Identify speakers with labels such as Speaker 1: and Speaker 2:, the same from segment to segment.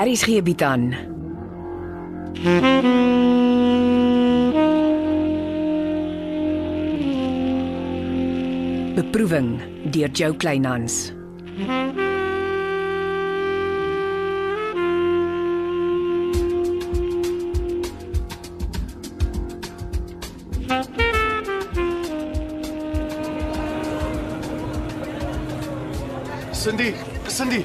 Speaker 1: Aries gee bied aan. Beproeving deur Jo Kleinhans.
Speaker 2: Cindy, Cindy,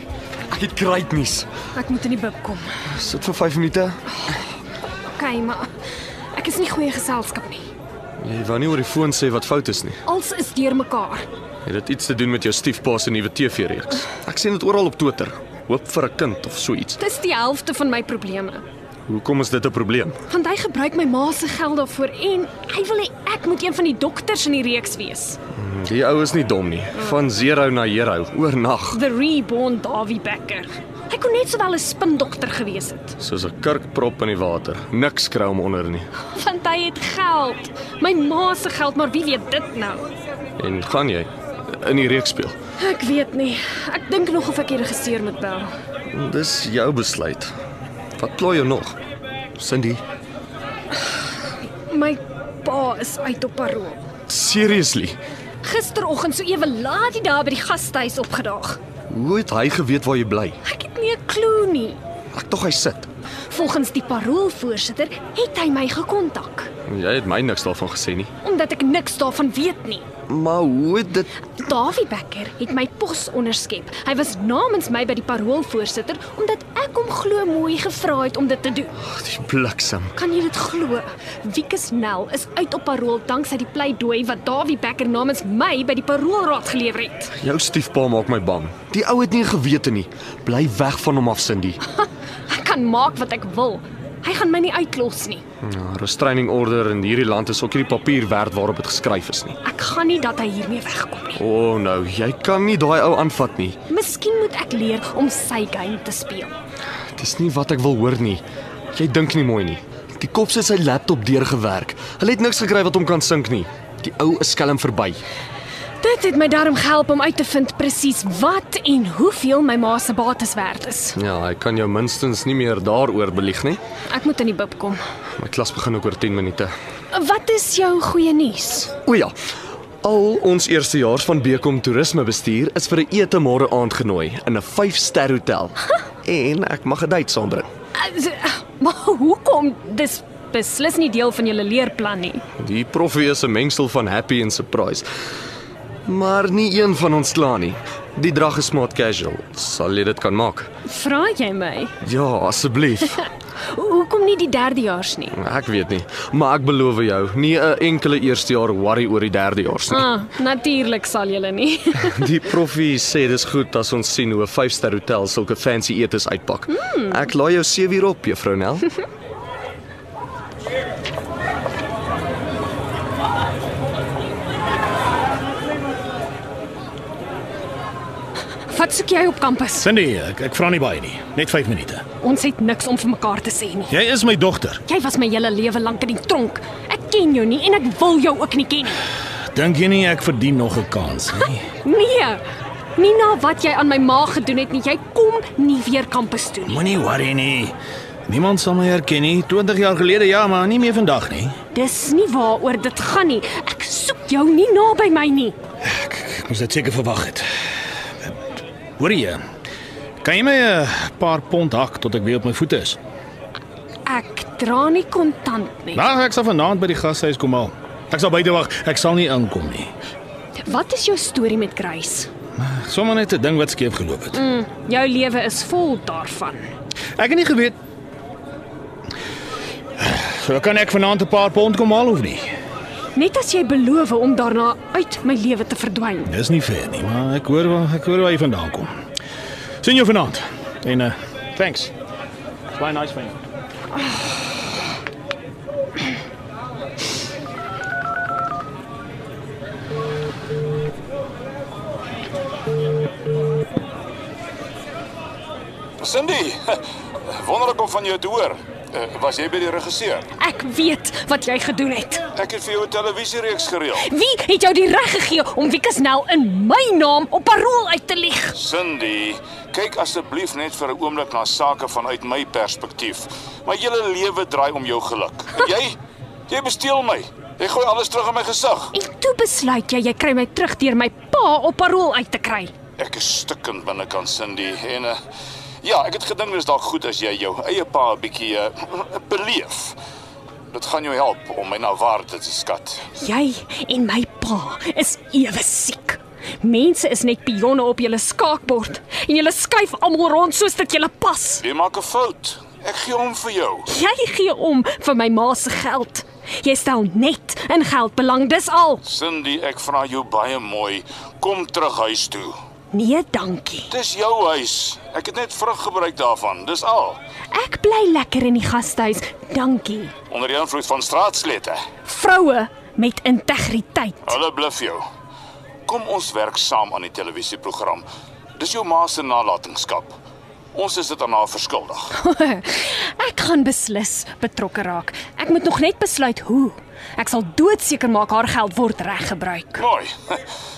Speaker 2: ek het great nuus.
Speaker 3: Ek moet in die bib kom.
Speaker 2: Sit vir 5 minute.
Speaker 3: OK, maar ek is nie goeie geselskap nie.
Speaker 2: Jy wou nie oor die foon sê wat fout is nie.
Speaker 3: Als is deurmekaar.
Speaker 2: Het dit iets te doen met jou stiefpa se nuwe TV-reeks? Ek sien dit oral op Twitter. Hoop vir 'n kind of so iets.
Speaker 3: Dis die helfte van my probleme.
Speaker 2: Hoekom is dit 'n probleem?
Speaker 3: Want hy gebruik my ma se geld daarvoor en hy wil hê ek moet een van die dokters in die reeks wees.
Speaker 2: Die ou is nie dom nie. Van 0 na hero oornag,
Speaker 3: The Reborn Davie Becker. Hy kon net sowel 'n spindokter gewees het.
Speaker 2: soos 'n kurkprop in die water. Niks kry hom onder nie.
Speaker 3: Want hy het geld. My ma se geld, maar wie weet dit nou?
Speaker 2: En gaan jy in die reeks speel?
Speaker 3: Ek weet nie. Ek dink nog of ek die regisseur moet bel.
Speaker 2: Dis jou besluit. Wat pla jy nog? Cindy,
Speaker 3: My pa is uit op parol.
Speaker 2: seriously,
Speaker 3: Gisteroggend so ewe laat die daar by die gastehuis opgedaag.
Speaker 2: hoe het hy geweet waar jy bly?
Speaker 3: Ek het nie 'n klou nie.
Speaker 2: Ek tog hy sit.
Speaker 3: Volgens die paroolvoorsitter het hy my gekontak
Speaker 2: Jy het my niks daarvan gesê nie.
Speaker 3: omdat ek niks daarvan weet nie.
Speaker 2: Maar hoe het dit
Speaker 3: Davie Becker het my pos onderskep. Hy was namens my by die paroolvoorsitter omdat ek hom glo mooi gevra het om dit te doen.
Speaker 2: Ag, die bliksem.
Speaker 3: Kan jy dit glo? Wiekus Nel is uit op parool danksy die pleidooi wat Davie Becker namens my by die paroolraad gelewer het.
Speaker 2: Jou stiefpa maak my bang. Die ou het nie gewete nie. Bly weg van hom af, Cindy.
Speaker 3: Ek kan maak wat ek wil. Hy gaan my nie uitklos nie.
Speaker 2: Ja, restraining order in hierdie land is ook nie die papier werd waarop dit geskryf is nie.
Speaker 3: Ek gaan nie dat hy hiermee wegkom nie.
Speaker 2: O, oh, nou, jy kan nie daai ou aanvat nie.
Speaker 3: Miskien moet ek leer om sy game te speel.
Speaker 2: Dis nie wat ek wil hoor nie. Jy dink nie mooi nie. Die kop sit sy laptop deurgewerk. Hulle het niks gekry wat hom kan sink nie. Die ou is skelm verby.
Speaker 3: Dit het my darm gehelp om uit te vind presies wat en hoeveel my ma se bates werd is.
Speaker 2: Ja, hy kan jou minstens nie meer daaroor belieg nie.
Speaker 3: Ek moet in die bib kom.
Speaker 2: My klas begin ook oor 10 minute.
Speaker 3: Wat is jou goeie nuus?
Speaker 2: O ja. Al ons eerstejaars van Bekom Toerismebestuur is vir 'n ete môre aand genooi in 'n 5-ster hotel. en ek mag 'n date saambring.
Speaker 3: Uh, Maar hoekom dis beslis nie deel van julle leerplan nie?
Speaker 2: Die proffie is 'n mengsel van happy en surprise. Maar nie een van ons kla nie. Die drag is smart casual. Sal jy dit kan maak?
Speaker 3: Vra jy my?
Speaker 2: Ja, asseblief.
Speaker 3: Hoekom nie die derdejaars nie?
Speaker 2: Ek weet nie, maar ek beloof jou, nie 'n enkele eerstejaar worry oor die derdejaars nie.
Speaker 3: Ah, natuurlik sal julle nie.
Speaker 2: Die proffie sê dis goed as ons sien hoe 'n 5-ster hotel sulke fancy etes uitpak. Mm. Ek laai jou 7 uur op, Juffrou Nel.
Speaker 3: Wat soek jy op kampus?
Speaker 4: Cindy, ek, ek vra nie baie nie. Net 5 minute.
Speaker 3: Ons het niks om vir mekaar te sê nie.
Speaker 4: Jy is my dogter.
Speaker 3: Jy was my hele lewe lank in die tronk. Ek ken jou nie en ek wil jou ook nie ken nie.
Speaker 4: Dink jy nie ek verdien nog 'n kans nie?
Speaker 3: Nee. Nie na wat jy aan my ma gedoen het nie. Jy kom nie weer kampus toe nie.
Speaker 4: Moenie worry nie. Niemand sal my herken nie. 20 jaar gelede ja, maar nie meer vandag nie.
Speaker 3: Dis nie waaroor dit gaan nie. Ek soek jou nie naby my nie.
Speaker 4: Ek, ek moes dit seker verwag het. Hoor jy? Kan jy my 'n paar pond hak tot ek weer op my voete is?
Speaker 3: Ek dra nie kontant nie.
Speaker 4: Nou, ek sal vanaand by die gashuis kom haal. Ek sal buite wag. Ek sal nie inkom nie.
Speaker 3: Wat is jou storie met Grace?
Speaker 4: Sommige net 'n ding wat skeef geloop het.
Speaker 3: Mm, jou lewe is vol daarvan.
Speaker 4: Ek het nie geweet. eh, So kan ek vanaand 'n paar pond kom haal of nie?
Speaker 3: Net as jy beloof om daarna uit my lewe te verdwyn.
Speaker 4: Dis nie fair nie, maar ek hoor waar ek hoor waar jy vandaan kom. Sien jou vanaand. En uh thanks. Baie nice van jou.
Speaker 5: Cindy, wonderlik om van jou te hoor. Eh, Was jy by die regisseur?
Speaker 3: Ek weet wat jy gedoen het.
Speaker 5: Ek het vir jou 'n televisiereeks gereël.
Speaker 3: Wie nou het jou die reg gegee om Wieke Snell in my naam op parol uit te lieg?
Speaker 5: Cindy, Kyk asseblief net vir 'n oomblik na sake vanuit my perspektief. My hele lewe draai om jou geluk. En jy? Jy besteel my. Jy gooi alles terug in my gesig.
Speaker 3: En toe besluit jy jy kry my terug deur my pa op parol uit te kry.
Speaker 5: Ek is stikkend binnekant Cindy en uh, ja, ek het gedink dis dalk goed as jy jou eie pa 'n bietjie uh, beleef. Dit gaan jou help om my na waarde te skat.
Speaker 3: Jy en my pa is ewe siek. Mense is net pionne op julle skaakbord en julle skuif almal rond soos dit julle pas.
Speaker 5: Jy maak 'n fout. Ek gee hom vir jou.
Speaker 3: Jy gee om vir my ma se geld. Jy stel net in geld belang, dis al.
Speaker 5: Cindy, ek vra jou baie mooi, kom terug huis toe.
Speaker 3: Nee, dankie.
Speaker 5: Dis jou huis. Ek het net vrug gebruik daarvan. Dis al.
Speaker 3: Ek bly lekker in die gastehuis. Dankie.
Speaker 5: Onder die invloed van straatslete.
Speaker 3: Vroue met integriteit.
Speaker 5: Hulle bluf jou. Kom ons werk saam aan die televisieprogram. Dis jou ma se nalatenskap. Ons is dit aan haar verskuldig.
Speaker 3: Ek gaan beslis betrokke raak. Ek moet nog net besluit hoe. Ek sal doodseker maak haar geld word reg gebruik.
Speaker 5: Mooi.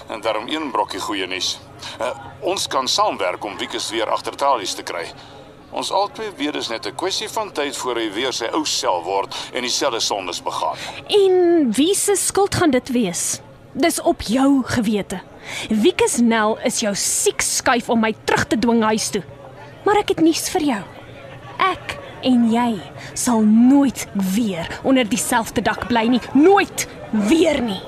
Speaker 5: En daarom een brokkie goeie nuus. Uh, ons kan saamwerk om Wiekus weer agter tralies te kry. Ons albei weet dis net 'n kwessie van tyd voor hy weer sy ou self word en dieselfde sondes begaan.
Speaker 3: En wie se skuld gaan dit wees? Dis op jou gewete. Wiekus Nel is jou siek skuif om my terug te dwing huis toe. Maar ek het nuus vir jou. Ek en jy sal nooit weer onder dieselfde dak bly nie. Nooit weer nie.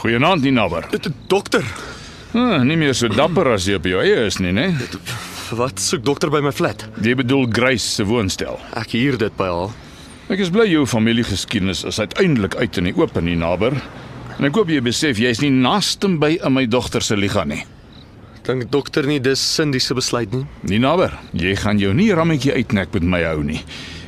Speaker 6: Goeienaand, Ninaber.
Speaker 2: D- d- Dokter,
Speaker 6: Ah, nie meer so dapper as jy op jou eie is nie, né?
Speaker 2: wat soek dokter by my flat?
Speaker 6: Jy bedoel Grace se woonstel.
Speaker 2: Ek huur dit by haar.
Speaker 6: Ek is bly jou familiegeskiedenis is uiteindelik uit in die oop in die naber. En ek hoop jy besef jy's nie naaste by aan my dogter se liga nie.
Speaker 2: Dink dokter nie dis Cindy se besluit nie.
Speaker 6: Ninaber, jy gaan jou nie rammetjie uitnek met my hou nie.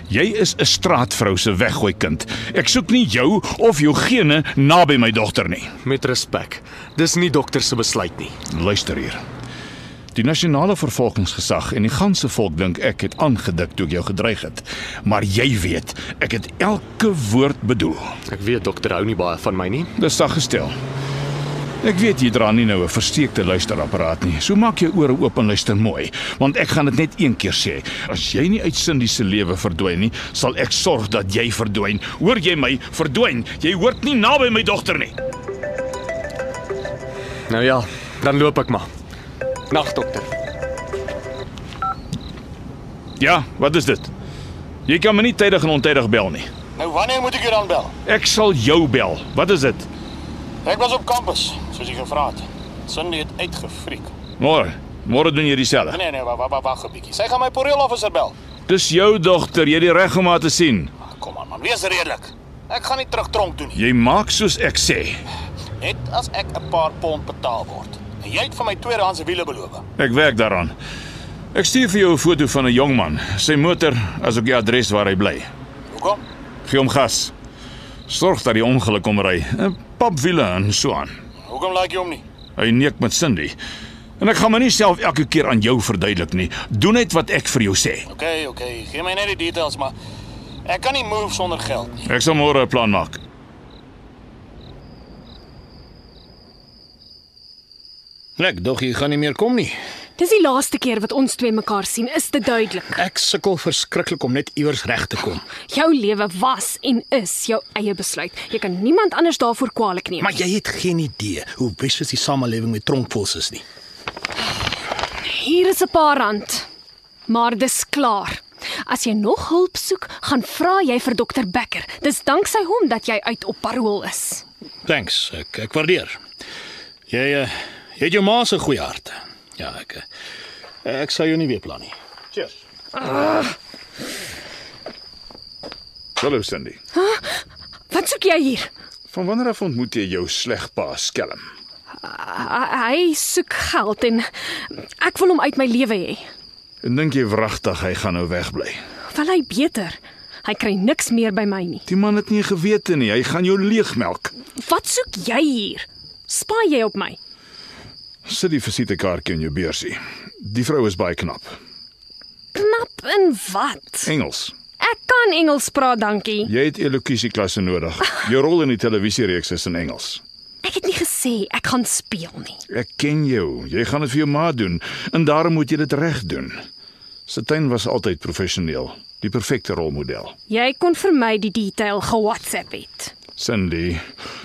Speaker 6: Jy is 'n straatvrou se weggooi kind. Ek soek nie jou of jou gene naby my dogter nie.
Speaker 2: Met respek, dis nie dokter se besluit nie.
Speaker 6: Luister hier. Die nasionale vervolgingsgesag en die ganse volk dink ek het aangedik toe ek jou gedreig het. Maar jy weet, ek het elke woord bedoel.
Speaker 2: Ek weet dokter hou nie baie van my nie.
Speaker 6: Dis sag gestel. Ek weet jy dra nie nou 'n versteekte luisterapparaat nie. So maak jou ore oop en luister mooi, want ek gaan dit net een keer sê. As jy nie uit Cindy se lewe verdwyn nie, sal ek sorg dat jy verdwyn. Hoor jy my? Verdwyn. Jy hoort nie naby my dogter nie.
Speaker 2: Nou ja, dan loop ek maar. Nag dokter.
Speaker 6: Ja, wat is dit? Jy kan my nie tydig en ontydig bel nie.
Speaker 5: Nou wanneer moet ek jou dan bel?
Speaker 6: Ek sal jou bel. Wat is dit?
Speaker 5: Ek was op kampus, soos jy gevra het. Cindy het uitgefriek.
Speaker 6: Môre. Môre doen jy dieselfde.
Speaker 5: Nee nee, wag wag wag 'n bietjie. Sy gaan my poreel officer bel. Ah,
Speaker 6: Dis jou dogter, jy het die reg om haar te sien.
Speaker 5: Kom aan man, wees redelik. Ek gaan nie terug tronk doen nie.
Speaker 6: Jy maak soos ek sê.
Speaker 5: Net as ek 'n paar pond betaal word. En jy het vir my tweedehandse wiele beloof.
Speaker 6: Ek werk daaraan. Ek stuur vir jou 'n foto van 'n jong man, sy motor, asook die adres waar hy bly.
Speaker 5: Hoekom?
Speaker 6: Gee hom gas. Sorg dat die ongeluk omry. 'n Papwiele en so aan.
Speaker 5: Hoekom laik jy hom nie?
Speaker 6: Hy neek met Cindy. En ek gaan my nie self elke keer aan jou verduidelik nie. Doen net wat ek vir jou sê.
Speaker 5: OK, OK. Gee my net die details, maar ek kan nie move sonder geld nie.
Speaker 6: Ek sal môre 'n plan maak.
Speaker 4: Ek dog jy gaan nie meer kom nie.
Speaker 3: Dis die laaste keer wat ons twee mekaar sien, is dit duidelik.
Speaker 4: Ek sukkel verskriklik om net iewers reg te kom.
Speaker 3: Jou lewe was en is jou eie besluit. Jy kan niemand anders daarvoor kwaadlik neem.
Speaker 4: Maar jy het geen idee hoe besig die samelewing met tronkvols is nie.
Speaker 3: Hier is 'n paar rand. Maar dis klaar. As jy nog hulp soek, gaan vra jy vir dokter Becker. Dis danksy hom dat jy uit op parol is.
Speaker 4: Thanks. Ek ek waardeer. Jy eh, jy het jou ma se goeie hart. Ja, ek eh, ek sal jou nie weer plan nie.
Speaker 5: Cheers.
Speaker 6: Hallo Cindy.
Speaker 3: Wat soek jy hier?
Speaker 6: Van wanneer af ontmoet jy jou slegpa skelm?
Speaker 3: Uh, hy soek geld en ek wil hom uit my lewe hê.
Speaker 6: En dink jy wragtig hy gaan nou wegbly?
Speaker 3: Wel hy beter. Hy kry niks meer by my nie.
Speaker 6: Die man het nie 'n gewete nie. Hy gaan jou leegmelk.
Speaker 3: Wat soek jy hier? Spaai jy op my?
Speaker 6: Sit die visitekaartjie in jou beursie. Die vrou is baie knap.
Speaker 3: Knap in wat?
Speaker 6: Engels.
Speaker 3: Ek kan Engels praat, dankie.
Speaker 6: Jy het elokusie klasse nodig. Jou rol in die televisiereeks is in Engels.
Speaker 3: Ek het nie gesê ek gaan speel nie.
Speaker 6: Ek ken jou. Jy gaan dit vir jou ma doen en daarom moet jy dit reg doen. Satan was altyd professioneel, die perfekte rolmodel.
Speaker 3: Jy kon vir my die detail ge-WhatsApp het.
Speaker 6: Cindy,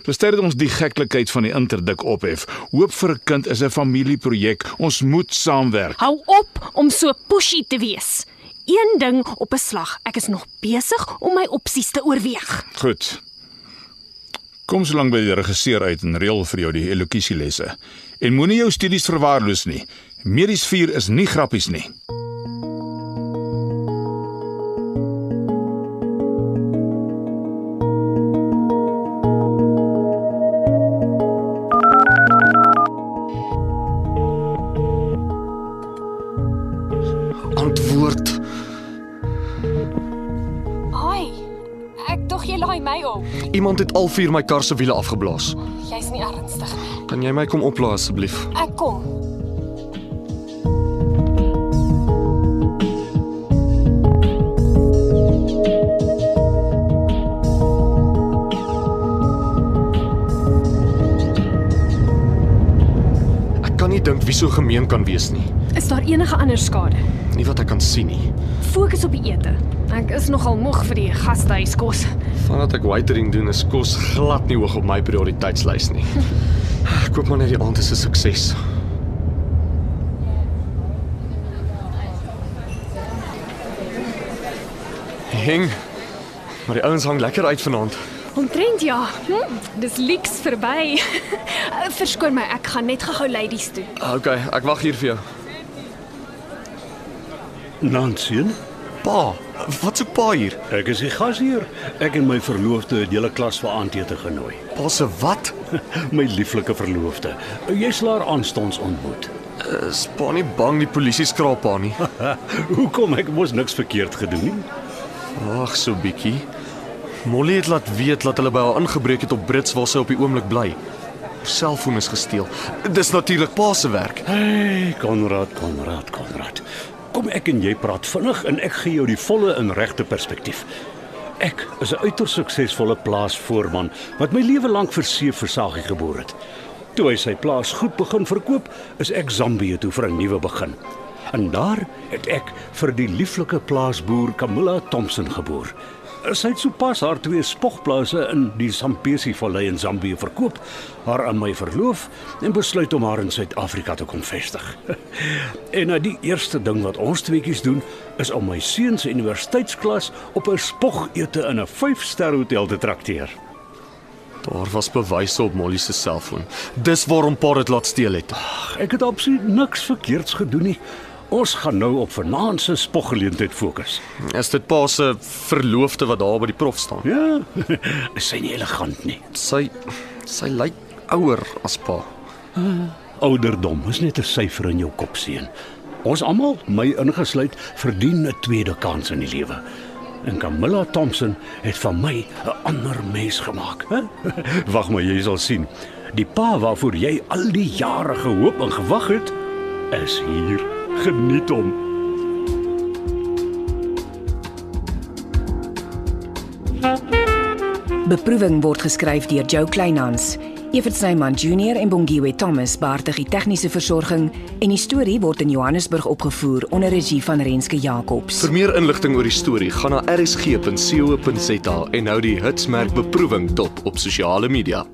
Speaker 6: bestel ons die geklikheid van die interdik ophef. Hoop vir 'n kind is 'n familieprojek. Ons moet saamwerk.
Speaker 3: Hou op om so pushy te wees. Een ding op 'n slag. Ek is nog besig om my opsies te oorweeg.
Speaker 6: Goed. Kom so lank by die regisseur uit en reël vir jou die elokisielesse. En moenie jou studies verwaarloos nie. Medies 4 is nie grappies nie.
Speaker 2: Antwoord.
Speaker 7: Ai, ek tog jy laai my op.
Speaker 2: Iemand het al vier my kar se wiele afgeblaas.
Speaker 7: Jy's nie ernstig nie.
Speaker 2: Kan jy my kom oplaas asseblief?
Speaker 7: Ek kom.
Speaker 2: Ek kan nie dink wie so gemeen kan wees nie.
Speaker 3: Is daar enige ander skade?
Speaker 2: Nie wat ek kan sien nie.
Speaker 3: Fokus op die ete. Ek is nogal moeg vir die gastehuiskos.
Speaker 2: Vandat ek waitering doen is kos glad nie hoog op my prioriteitslys nie. Ek koop maar net die aand is 'n sukses. Hing. Maar die ouens hang lekker uit vanaand.
Speaker 3: Omtrent ja. Hm, dis lieks verby. Verskoon my, ek gaan net gou-gou ladies toe.
Speaker 2: Okay, Ah, ek wag hier vir jou.
Speaker 8: Nansien,
Speaker 2: Pa, wat soek pa hier?
Speaker 8: ek is die gasheer. Ek en my verloofde het julle klas vir aandete genooi.
Speaker 2: Pa se wat?
Speaker 8: My lieflike verloofde. Jy sal haar aanstonds ontmoet.
Speaker 2: Is pa nie bang die polisie skraap pa nie?
Speaker 8: Hoekom ek mos niks verkeerd gedoen nie?
Speaker 2: Wag so bietjie. Molly het laat weet dat hulle by haar ingebreek het op Brits waar sy op die oomblik bly. Haar selfoon is gesteel. Dis natuurlik pa se werk.
Speaker 8: Hey, Konrad, Konrad, Konrad. Kom ek en jy praat vinnig en ek gee jou die volle en regte perspektief. Ek is 'n uiters suksesvolle plaasvoorman wat my lewe lank vir seeversagie geboor het. Toe hy sy plaas goed begin verkoop, is ek Zambië toe vir 'n nuwe begin. En daar het ek vir die lieflike plaasboer Camilla Thompson geboor. Sy het sopas haar twee spogplase in die Zambesi Vallei in Zambië verkoop, haar aan my verloof en besluit om haar in Suid-Afrika te kom vestig. en nou die eerste ding wat ons tweeetjies doen, is om my seun se universiteitsklas op 'n spogete in 'n 5-ster hotel te trakteer.
Speaker 2: Daar was bewyse op Molly se selfoon. Dis waarom pa dit laat steel het.
Speaker 8: Ek het absoluut niks verkeerds gedoen nie. Ons gaan nou op vanaand se spoggeleentheid fokus.
Speaker 2: Is dit pa se verloofde wat daar by die prof staan?
Speaker 8: Ja, is sy nie elegant nie.
Speaker 2: Sy sy lyk ouer as pa.
Speaker 8: Ouderdom is net 'n syfer in jou kop seën. Ons almal, my ingesluit, verdien 'n tweede kans in die lewe. En Camilla Thompson het van my 'n ander mens gemaak, hè? Wag maar, jy sal sien. Die pa waarvoor jy al die jare gehoop en gewag het, is hier. Geniet hom.
Speaker 1: Beproeving word geskryf deur Jo Kleinhans. Evert Snyman Junior en Bongwe Thomas beheerdig die tegniese versorging en die storie word in Johannesburg opgevoer onder regie van Renske Jacobs.
Speaker 2: Vir meer inligting oor die storie, gaan na rsg.co.za en hou die hitsmerk beproewing dop op sosiale media.